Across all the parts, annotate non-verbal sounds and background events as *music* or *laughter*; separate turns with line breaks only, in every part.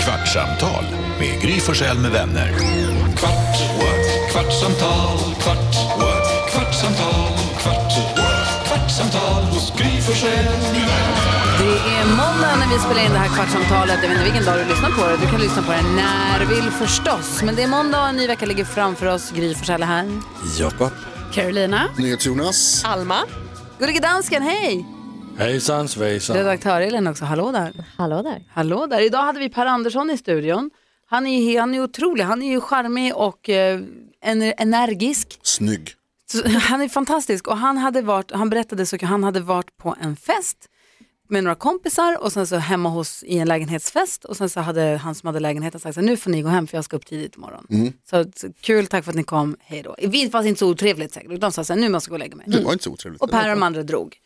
Kvartsamtal med Gry Forssell med vänner. Kvart, what? kvartsamtal, kvart, what? kvartsamtal, kvart, what? kvartsamtal hos Gry Forssell med vänner.
Det är måndag när vi spelar in det här kvartsamtalet. Jag vet inte vilken dag du lyssnar på det. Du kan lyssna på det när du vill förstås. Men det är måndag och en ny vecka ligger framför oss. Gry Forssell är här.
Jakob.
Carolina.
NyhetsJonas.
Alma.
Gullige dansken, hej!
Hejsan svejsan.
Redaktör Elin också, hallå där.
Hallå där.
Hallå där. Idag hade vi Per Andersson i studion. Han är ju han är otrolig. Han är ju charmig och eh, ener- energisk.
Snygg.
Så, *laughs* han är fantastisk och han, hade varit, han berättade så att han hade varit på en fest med några kompisar och sen så hemma hos i en lägenhetsfest och sen så hade han som hade lägenheten sagt så här, nu får ni gå hem för jag ska upp tidigt imorgon. Så, så kul, tack för att ni kom, hej då. Vi var inte så otrevligt säkert, de sa så här, nu måste jag gå och lägga mig.
Det var inte så otrevligt.
Och Per och de andra drog.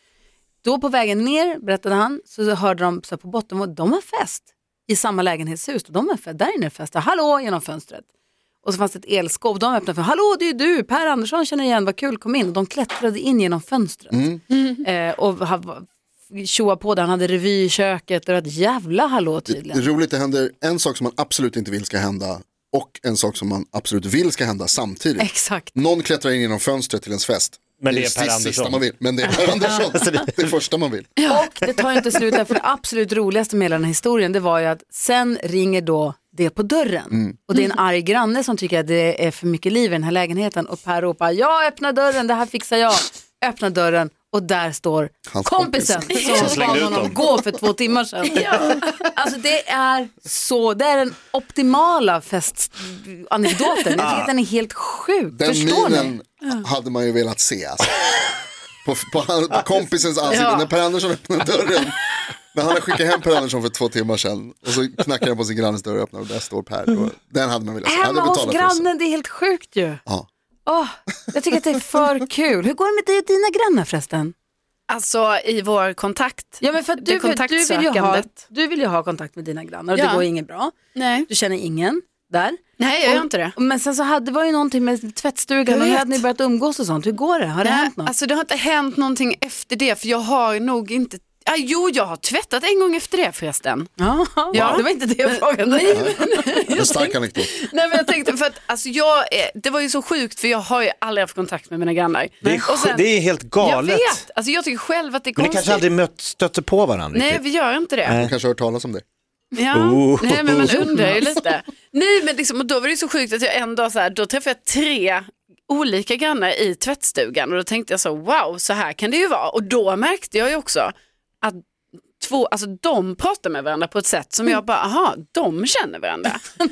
Då på vägen ner, berättade han, så hörde de så här på botten, och de har fest i samma lägenhetshus. Och de har fest, där inne är fest, hallå genom fönstret. Och så fanns det ett elskåp, de öppnade för, hallå det är ju du, Per Andersson känner igen, vad kul, kom in. Och de klättrade in genom fönstret. Eh, och ha- tjoade på där, han hade revy i köket, och det var ett jävla hallå
Det är
tydligen.
roligt, det händer en sak som man absolut inte vill ska hända och en sak som man absolut vill ska hända
*laughs*
samtidigt.
Exakt.
Någon klättrar in genom fönstret till ens fest.
Men det är
det
Per
sista
Andersson. Alltså,
man vill. Men det
*laughs*
är Per Andersson. det är första man vill.
Och det tar ju inte slut där, för det absolut roligaste med hela den här historien det var ju att sen ringer då det på dörren och det är en arg granne som tycker att det är för mycket liv i den här lägenheten och Per ropar jag öppnar dörren, det här fixar jag, öppnar dörren och där står
Hans
kompisen
kompis.
som
Som slängde
bad
ut
honom
dem.
gå för två timmar sedan. Alltså det är så, det är den optimala festanekdoten, jag tycker att den är helt sjuk,
Den
förstår ni?
minen hade man ju velat se. Alltså. På, på, han- på kompisens ansikte när Per Andersson öppnar dörren. När han har skickat hem Per Andersson för två timmar sedan och så knackar han på sin grannes dörr och öppnar och där står Per. Och Den hade man velat se. Hade
Hemma hos
betalat för att se.
grannen, det är helt sjukt ju.
Ja.
Åh, jag tycker att det är för kul. Hur går det med dig och dina grannar förresten?
Alltså i vår kontakt.
Ja, men för att
Det
du, vill- du, vill ju ha,
kontaktsökandet.
du vill ju ha kontakt med dina grannar och det
Ja.
går inget bra.
Nej.
Du känner ingen där.
Nej, jag gör inte det.
Men sen så hade, det var ju någonting med tvättstugan
Jag
och hur
vet.
hade ni börjat umgås och sånt. Hur går det? Har det
Nej,
hänt något?
Alltså det har inte hänt någonting efter det för jag har nog inte, ah, jo jag har tvättat en gång efter det förresten.
ja,
Ja.
det var inte det jag frågade. *laughs*
En stark anekdot.
*laughs* Nej men jag tänkte för att alltså jag, är- det var ju så sjukt för jag har ju aldrig haft kontakt med mina grannar.
Det är,
Och sen-
sj- det är helt
Jag
galet.
vet, alltså jag tycker själv att det är
Men ni
konstigt.
kanske aldrig mött, stötte på varandra
Nej
riktigt?
vi gör inte det.
Du kanske har hört talas om det.
Ja,
Oh.
nej men man undrar ju lite. Nej men liksom, och då var det ju så sjukt att jag en dag så här, då träffade jag tre olika grannar i tvättstugan och då tänkte jag så wow så här kan det ju vara och då märkte jag ju också att två, alltså de pratar med varandra på ett sätt som jag bara, aha, de känner varandra.
nej,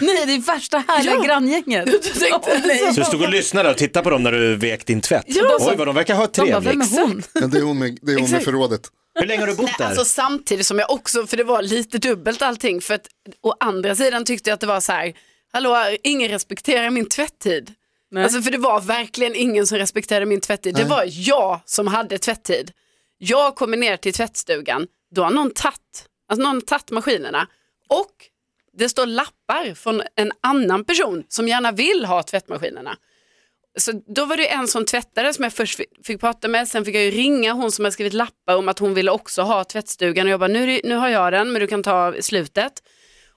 nej, det är värsta härliga
Ja.
*laughs* granngänget. Åh, nej.
Så du stod och lyssnade och tittade på dem när du vek din tvätt?
Ja.
Oj vad de verkar ha
De bara, vem
trevligt.
är hon?
Men det är hon med, det är hon med
Exakt.
förrådet.
Hur länge har du bott där?
Alltså samtidigt som jag också, för det var lite dubbelt allting, för att å andra sidan tyckte jag att det var så här, hallå, ingen respekterar min tvätttid. Alltså för det var verkligen ingen som respekterade min tvätttid. Det var jag som hade tvätttid. Jag kommer ner till tvättstugan, då har någon tagit, alltså någon tagit maskinerna och det står lappar från en annan person som gärna vill ha tvättmaskinerna. Så då var det ju en som tvättade som jag först fi- fick prata med, sen fick jag ju ringa hon som har skrivit lappar om att hon ville också ha tvättstugan och jag bara nu, är det- nu har jag den men du kan ta slutet.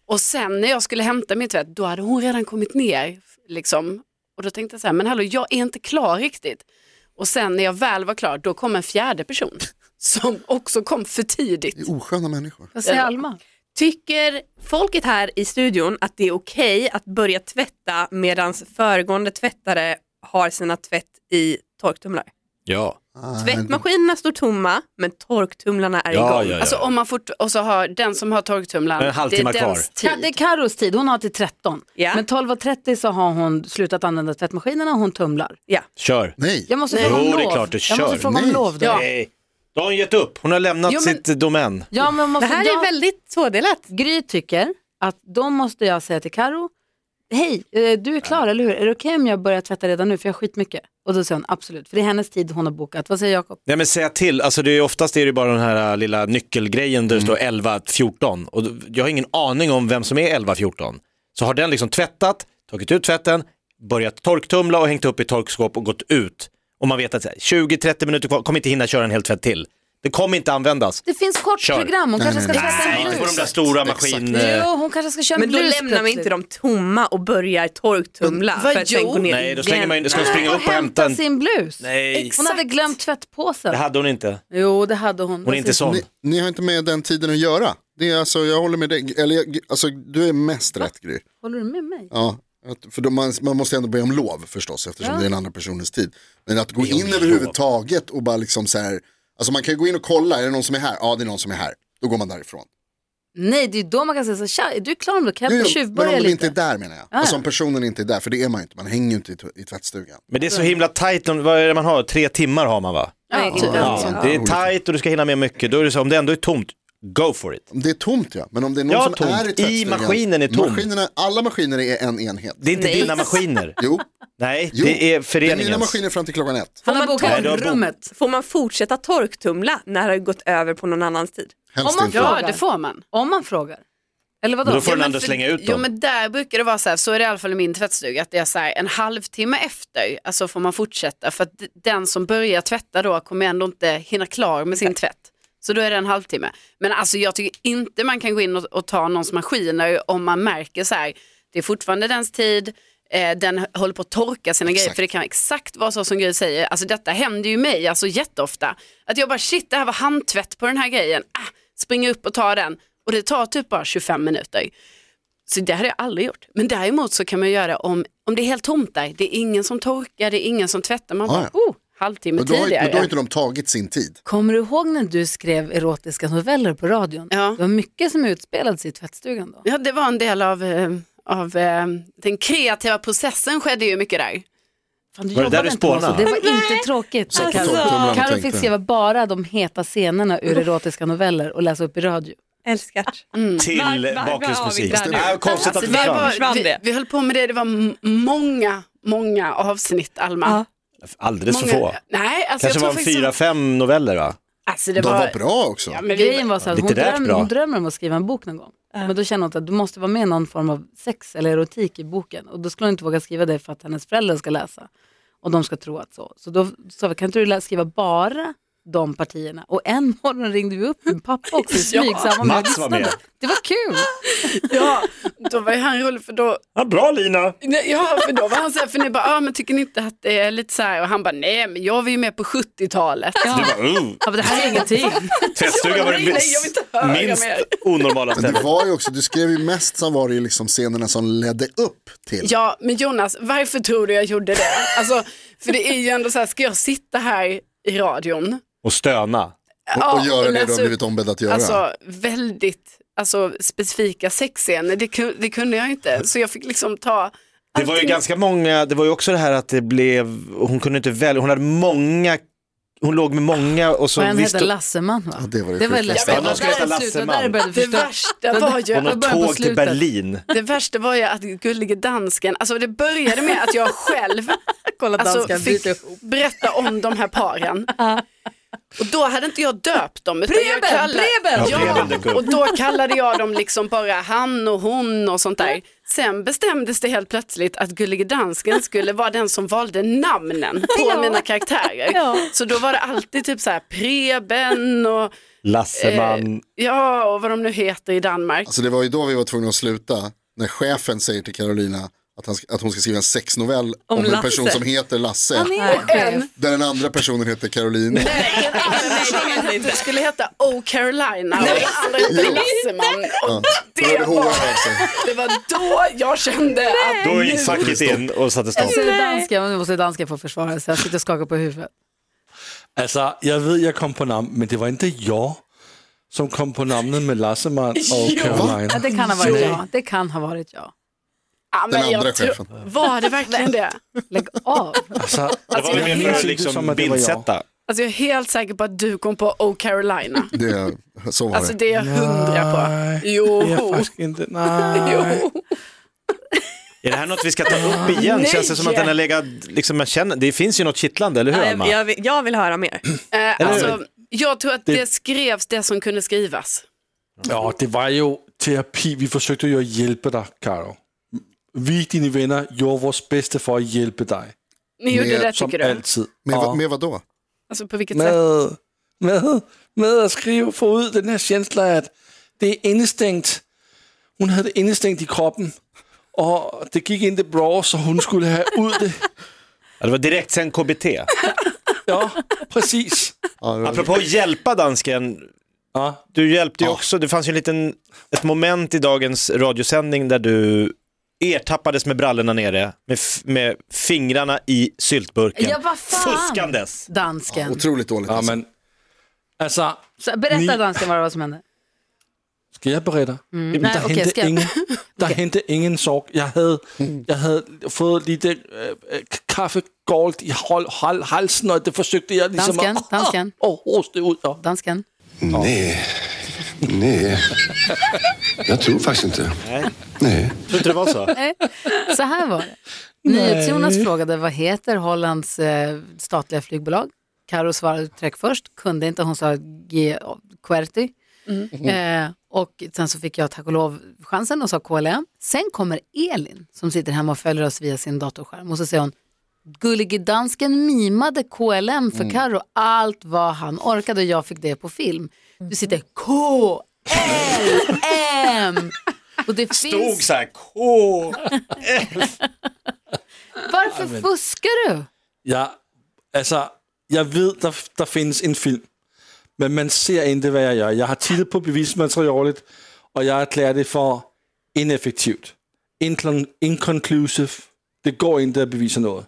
Och sen när jag skulle hämta min tvätt då hade hon redan kommit ner liksom. Och då tänkte jag så här, men hallå jag är inte klar riktigt. Och sen när jag väl var klar då kom en fjärde person *laughs* som också kom för tidigt.
Det är osköna människor.
Vad säger Alma?
Tycker folket här i studion att det är okej att börja tvätta medan föregående tvättare har sina tvätt i torktumlare?
Ja.
Tvättmaskinerna står tomma men torktumlarna är
Ja,
igång.
ja,
Alltså
ja.
om man fort, och så har den som har torktumlaren,
En halvtimme
det är
kvar.
dens tid.
Ja, det är Carros tid, hon har till 13.
Ja.
Men 12.30 så har hon slutat använda tvättmaskinerna och hon tumlar.
Kör.
Nej,
Jag måste
Nej.
fråga om
Jo, det är
lov.
klart du
Jag måste
kör.
fråga om
Nej.
lov då. Ja.
Nej. Då har hon gett upp. Hon har lämnat
Jo, men-
sitt domän.
men man måste,
Det här
jag,
är väldigt tvådelat.
Gry tycker att då måste jag säga till Karo hej, eh, du är klar eller hur? Är det okej om jag börjar tvätta redan nu för jag har skitmycket? Och då säger hon absolut, för det är hennes tid hon har bokat. Vad säger Jakob?
Nej men säga till, alltså det är ju oftast är det ju bara den här äh, lilla nyckelgrejen där det står 11-14 och då- jag har ingen aning om vem som är 11-14. Så har den liksom tvättat, tagit ut tvätten, börjat torktumla och hängt upp i torkskåp och gått ut. Och man vet att så här, 20-30 minuter kvar, kommer inte hinna köra en hel tvätt till. Det kommer inte användas.
Det finns kort
Kör.
program, hon kanske ska
nej,
tvätta en
Inte på
blus.
de där stora eh,
Exakt.
maskinerna.
Jo, hon kanske ska köra en
Men då
blus
lämnar vi
plötsligt.
inte dem tomma och börjar torktumla
Men vad
för att sen
gör-
gå ner
Nej, då slänger man in,
igen.
ska hon springa
Hon
upp och hämta en...
sin blus.
Nej,
Hon hade glömt tvättpåsen.
det hade hon inte.
Jo, det hade hon.
Hon är inte sån.
Ni, ni har inte med den tiden att göra. Det är alltså, jag håller med dig. Eller, jag- alltså, du är mest rätt Gry.
Håller du med mig?
Ja, att, för då man, man måste ändå be om lov förstås eftersom
Ja.
det är den andra personens tid. Men att gå
Be om
in
lov.
överhuvudtaget och bara liksom så här, alltså man kan ju gå in och kolla, är det någon som är här? Ja, det är någon som är här. Då går man därifrån.
Nej, det är då man kan säga så här, "Tja, är du klar om du kan
Jo,
jag få
jo, men
tjuvbörja
om de
lite?
inte är där menar
Ah.
jag. Alltså om personen inte är där, för det är man ju inte, man hänger ju inte i, t- i tvättstugan.
Men det är så himla tajt, om- vad är det man har? Tre timmar har man va?
Nej, typ.
Ja,
liksom-
det är tajt och du ska hinna med mycket. Då är det så, om det ändå är tomt, go for it.
Det är tomt ja, men om det är någon
Ja,
som
tomt.
är i
I
tvättstugan.
maskinen är tom.
Maskinerna, alla maskiner är en enhet.
Det är inte
Nej.
dina maskiner.
Jo,
Nej,
jo.
det är
det är mina
föreningens.
maskiner fram till klockan ett.
Han har
Om man
bokat
tar-
om rummet.
Får man fortsätta torktumla när det har gått över på någon annans tid?
Helst
man
inte.
får-
Ja,
frågar.
det får man.
Om man frågar. Eller vadå?
Men då får
Ja,
den
men
andra
för-
slänga ut
Jo
dem.
men där brukar det vara så här, så är det i alla fall i min tvättstuga, att det är så här en halvtimme efter, alltså får man fortsätta för att d- den som börjar tvätta då kommer ändå inte hinna klar med sin tvätt. Så då är det en halvtimme. Men alltså jag tycker inte man kan gå in och, och ta någons maskiner om man märker så här, det är fortfarande dens tid, eh, den håller på att torka sina grejer, för det kan exakt vara så som Gry säger, alltså detta händer ju mig alltså jätteofta. Att jag bara shit, det här var handtvätt på den här grejen, ah, springer upp och tar den och det tar typ bara 25 minuter. Så det hade jag aldrig gjort. Men däremot så kan man göra om, om det är helt tomt där, det är ingen som torkar, det är ingen som tvättar, man
Ah,
bara, oh, halvtimme
Men då, har,
tidigare.
men då har inte de tagit sin tid.
Kommer du ihåg när du skrev erotiska noveller på radion?
Ja.
Det var mycket som utspelades i tvättstugan då.
Ja, det var en del av, eh, av eh, den kreativa processen skedde ju mycket där.
Fan, du
Var det där
jobbade
du
inte med oss,
spånade?
Det var inte tråkigt.
Så på
Karo.
torktumlaren och
Karo fick
tänkte.
skriva bara de heta scenerna ur erotiska noveller och läsa upp i radio.
Älskar. Var-
Till
var- var
bakgrundsmusik.
har vi där nu?
Ja, Äh, Konstigt att det
Vi, Alltså,
försvann.
var,
försvann
vi,
det.
vi höll på med det, det var m- många, många avsnitt Alma.
Ja.
Alldeles för
många,
få.
Nej, alltså
Kanske
jag tror
var det
faktiskt
fyra, fem noveller va?
Alltså det
De
var,
var bra också.
Ja, men vi,
Grejen var så att hon,
Litterärt
dröm,
bra.
hon drömmer om att skriva en bok någon gång. Men då känner hon att du måste vara med någon form av sex eller erotik i boken. Och då skulle hon inte våga skriva det för att hennes föräldrar ska läsa. Och de ska tro att så. Så då sa vi, kan inte du lä- skriva bara de partierna? Och en *laughs* morgon ringde vi upp min pappa också i smyg. så han var med och
Mats var
lyssnade.
med.
Det var kul.
ja, då var ju han rolig för då,
Ja, bra Lina!
Nej, Ja, för då var han så här, för ni bara, ah, men tycker ni inte att det är lite så här, och han bara, nej men jag var ju med på 70-talet.
Du bara, oh,
Ja, men det här är ingenting.
tvättstugan var det
Nej, nej, jag vill inte höra
minst- minst
mer.
onormala
Men det
stället.
var ju också, du skrev ju mest som var det ju liksom scenerna som ledde upp till.
Ja, men Jonas, varför tror du jag gjorde det? Alltså, för det är ju ändå så här, ska jag sitta här i radion?
Och stöna.
Ja,
och, och göra det du
läsa
har
upp,
blivit ombedd att göra.
Alltså väldigt alltså, specifika sexscener, det, ku- det kunde jag inte. Så jag fick liksom ta
Det var ju
allting.
ganska många, det var ju också det här att det blev, hon kunde inte välja, hon hade många, hon låg med många och så
Och en
visste
hette Lasseman va?
Ja, det var det
var
sjukaste.
läskigt.
Ja, någon skulle
Där
heta
är slutet,
Lasseman.
Där började vi
Det
förstå.
värsta var ju
hon
Jag
har
börjar på
tåg till
slutet.
Berlin.
Det värsta var ju att gullige dansken, alltså det började med att jag själv
Kolla
alltså,
danskan
fick
dyka upp.
berätta om de
*laughs*
här paren. Och då hade inte jag döpt dem. Utan jag
Preben,
kallade,
Preben!
Ja, Preben dök
Ja,
upp.
och då kallade jag dem liksom bara han och hon och sånt där. Sen bestämdes det helt plötsligt att Gullige Dansken skulle vara den som valde namnen på
Ja.
mina karaktärer.
Ja.
Så då var det alltid typ så här Preben och,
Lasseman.
ja, och vad de nu heter i Danmark.
Alltså det var ju då vi var tvungna att sluta, när chefen säger till Carolina att, han, ska- att hon ska skriva en sexnovell om, en
Lasse.
person som heter Lasse.
Han är en chef.
Där den andra personen heter Carolina.
Det skulle heta Oh Carolina och den andra hette Lasseman. Och
Då hörde
det,
HR av
var,
sig.
det var då jag kände att
Då gick facket in och satte stopp.
Jag säger danska, men nu måste danska få försvara sig. Jag sitter och skakar på huvudet.
Altså, jeg ved, jeg kom på navn, men det var ikke jeg, som kom på navnet med Lassemann
*laughs*
og
Ja,
Caroline.
det kan ha varit jag. Det kan ha varit jag.
ja, men
Den andra
jag tror-
chefen.
Var det verkligen det?
Lägg av.
Altså,
Alltså,
Det var
jeg
ju mer
mindes
för att
ikke
liksom
det var jeg.
bildsätta.
Alltså jag är helt säker på att du kom på Oh Carolina.
Det, så var
Alltså
det.
det är jag hundra på.
Nej,
Jo.
det er faktisk ikke. Nej.
Jo.
Är det här något vi ska ta upp igen?
Nej.
Känns det som att den har legat, liksom, man känner, det finns ju något kittlande, eller hur
Ja,
Alma?
jag, jag, vill, jag vill höra mer.
Eh, alltså, jag tror att det
Det-
skrevs det som kunde skrivas.
Ja, det var jo terapi. Vi forsøgte jo at hjælpe dig, Caro. Vi, dine venner, gjorde vores bedste for at hjælpe dig.
Ni gjorde
Med-
det
Som
tycker du?
altid.
Med,
Og
vad- med vad då?
Alltså på vilket sätt?
med, med, med at skrive, få ud den her känsla, at det er indestængt. Hun havde det indestængt i kroppen, og det gik ind det bra, så hun skulle have ud
*laughs*
det.
Ja, det var direkt sen KBT.
Ja, præcis.
Ja, det var-
Apropå att hjälpa dansken,
Ja,
du hjälpte ju
Ja.
också, det fanns ju en liten, ett moment i dagens radiosändning där du ertappades med brallorna nere, med, f- med fingrarna i
*laughs*
syltburken.
Ja, vad fan!
Fuskandes!
Dansken.
Otroligt dåligt
ja
alltså.
men altså,
Så berätta
Ni-
dansken vad det var som hände.
Skal jeg berette? Mm. Jamen,
nej,
der
okay,
hente
skal jeg?
ingen,
*laughs*
der okay. hente ingen sorg. Jeg havde, jeg havde fået lige det øh, øh, kaffegold i hol, hol, halsen, og det forsøgte jeg ligesom
Dansken,
at, *laughs*
dansken.
at, at hoste ud. Og,
Dansken.
Nej. Nej. Jag tror faktiskt inte. Nej. Nej.
Tror du inte det var så?
Nej, Så här var det. NyhetsJonas frågade vad heter Hollands eh, statliga flygbolag? Karo svarade Trek först, kunde inte, hon sa G. Qwerty. Eh, och sen så fick jag tack och lov chansen och sa KLM. Sen kommer Elin som sitter hemma och följer oss via sin datorskärm och så säger hon Gullige dansken mimade KLM för Karo allt vad han orkade och jag fick det på film. Du sitter KLM och det finns
Stod så här, "K."
Varför fuskar du?
jeg, altså, jeg ved, der, der findes en film, men man ser ikke, hvad jeg gør. Jeg har tittet på bevismaterialet, og jeg erklærer det for ineffektivt. Incon- inconclusive. Det går ikke at bevise noget.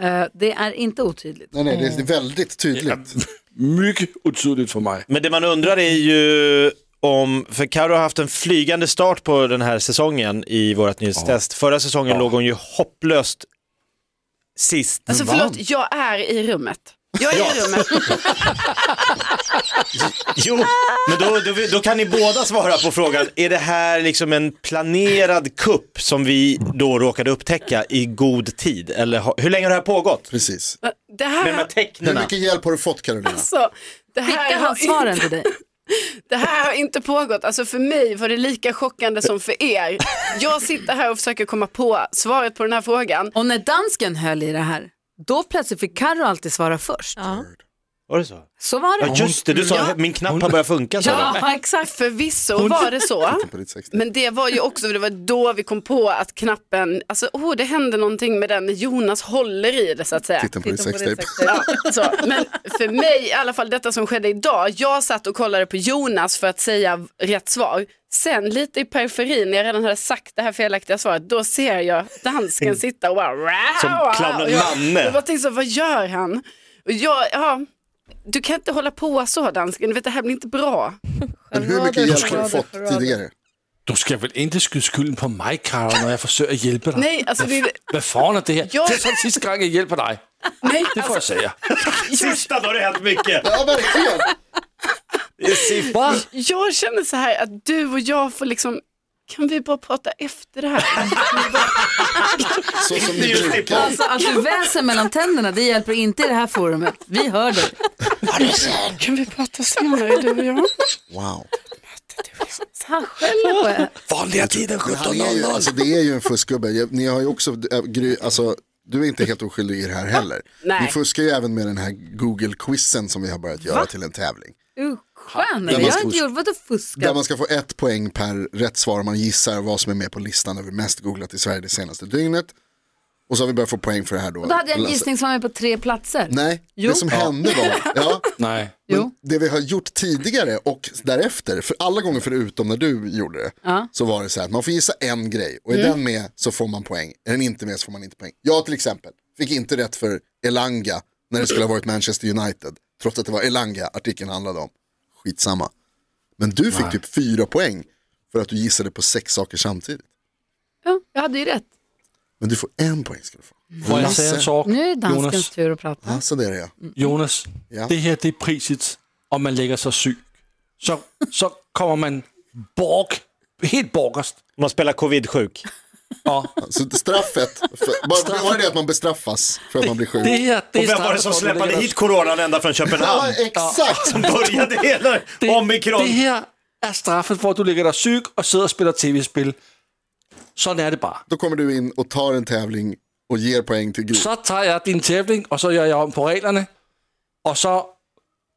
Eh, det är inte otydligt.
Nej, nej, det är-
Mm.
det är väldigt tydligt.
Mycket utydeligt for mig.
Men det man undrar är ju om, för Karo har haft en flygande start på den här säsongen i vårt nyhetstest. Förra säsongen låg hon ju hopplöst sist.
Alltså förlåt, jag är i rummet. Jag är i
*laughs*
rummet.
*laughs* Jo, men då, då, då kan ni båda svara på frågan, är det här liksom en planerad kupp som vi då råkade upptäcka i god tid? Eller har- hur länge har det här pågått?
Precis.
Det
Med de
här,
här
Hur
tecknen?
mycket hjälp har du fått Carolina?
alltså, det här
Skicka han
har
svaren
inte,
till dig.
det här har inte pågått. Alltså för mig var det lika chockande som för er. Jag sitter här och försöker komma på svaret på den här frågan.
Och när dansken höll i det här, då plötsligt fick Carro alltid svara först.
Var det så?
Så var
Ja,
det.
just det, du sa min knapp har börjat funka. sa du.
*laughs* Ja, exakt.
Förvisso var det så.
På ditt 60.
Men det var ju också, det var då vi kom på att knappen, alltså oh, det hände någonting med den, Jonas håller i det så att säga.
Titten på ditt sextape.
Ja, så. Men för mig, i alla fall detta som skedde idag, jag satt och kollade på Jonas för att säga rätt svar. Sen lite i periferin, när jag redan hade sagt det här felaktiga svaret, då ser jag dansken sitta och bara...
Mm. Som clownen
Och jag-
Manne.
Jag bara tänkte så, vad gör han? Och jag, ja, du kan inte hålla på så dansken, du vet, det här blir inte bra.
Men hur mycket hjälp har du fått tidigare?
Du skal vel ikke skyde skylden på mig, Karol, når jeg forsøger at hjælpe dig.
Nej, alltså det är...
Hvad foran er det her?
Jo.
Det er sådan sidste gang, jeg hjælper dig.
Nej,
Det får jeg sige.
Sista då har det hänt mycket.
Ja, verkligen.
Jag känner så här att du och jag får liksom, kan vi bara prata efter det här?
Så som
Det är
ni
just det.
brukar.
Alltså att du väser mellan tänderna, det hjälper inte i det här forumet. Vi hör dig.
Kan vi prata senare du och jag?
Wow.
Han skäller på er.
Vanlig tid end
Han är ju, alltså, det är ju en fuskgubbe. Jag- Ni har ju också, äh, Gry, alltså, du är inte helt oskyldig i det här heller.
Nej.
Ni fuskar ju även med den här Google-quizen som vi har börjat göra till en tävling.
Uh, Stjärnor,
Där man
jag har
ska-
inte gjort, vadå
Där
fuska?
man ska få ett poäng per rätt svar man gissar vad som är med på listan över mest googlat i Sverige det senaste dygnet. Och så har vi börjat få poäng för det här då.
Då hade jag en gissning som var med på tre platser.
Alltså. Nej,
Jo.
det som hände var, ja,
Nej.
Jo.
det vi har gjort tidigare och därefter, för alla gånger förutom när du gjorde det, så var det så här att man får gissa en grej och är den med så får man poäng, är den inte med så får man inte poäng. Jag till exempel fick inte rätt för Elanga när det skulle ha varit Manchester United, trots att det var Elanga artikeln handlade om. Skitsamma. Men du fick typ fyra poäng för att du gissade på sex saker samtidigt.
Ja, jag hade ju rätt.
Men du får en poäng ska du få.
Må jeg sige en sorg,
Nu är det danskens
Jonas?
tur att prata.
Ja, så det är det ja.
Jonas,
Ja.
det her det er priset, og man lægger sig syg. Så, så kommer man borg, helt borgerst.
Man spelar covid-sjuk.
Og
Så straffet, för, bara, bara det att man bestraffas för att man blir sjuk.
det her, det
Och vem var det som släppade hit coronan ända från
Ja,
Köpenhamn?
exakt.
Som började hela omikron.
det her er straffet, hvor du ligger dig syg og sidder og spiller tv-spil. Sådan er det bare.
Då kommer du in och tar en tävling och ger poäng till Gry.
Så tager jeg din tævling, og så gør jeg om på reglerne. Og så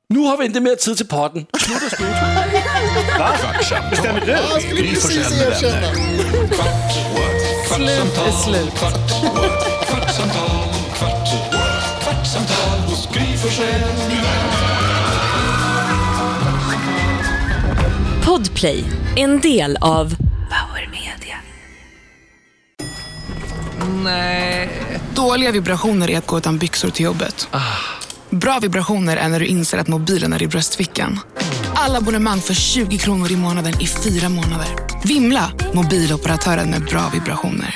Nu har vi inte mer tid till podden.
Kvartsamtal
Jag
med
skulle
Gry
precis
Forssell med
erkänna.
vänner. Kvart, what? kvartsamtal, kvart, what? kvartsamtal, kvart, what? kvartsamtal hos Gry Forssell med vänner.
Podplay, en del av Power Media.
Dåliga vibrationer är att gå utan byxor till jobbet. Bra vibrationer är när du inser att mobilen är i bröstfickan. Alla abonnemang för 20 kronor i månaden i fyra månader. Vimla! Mobiloperatören med bra vibrationer.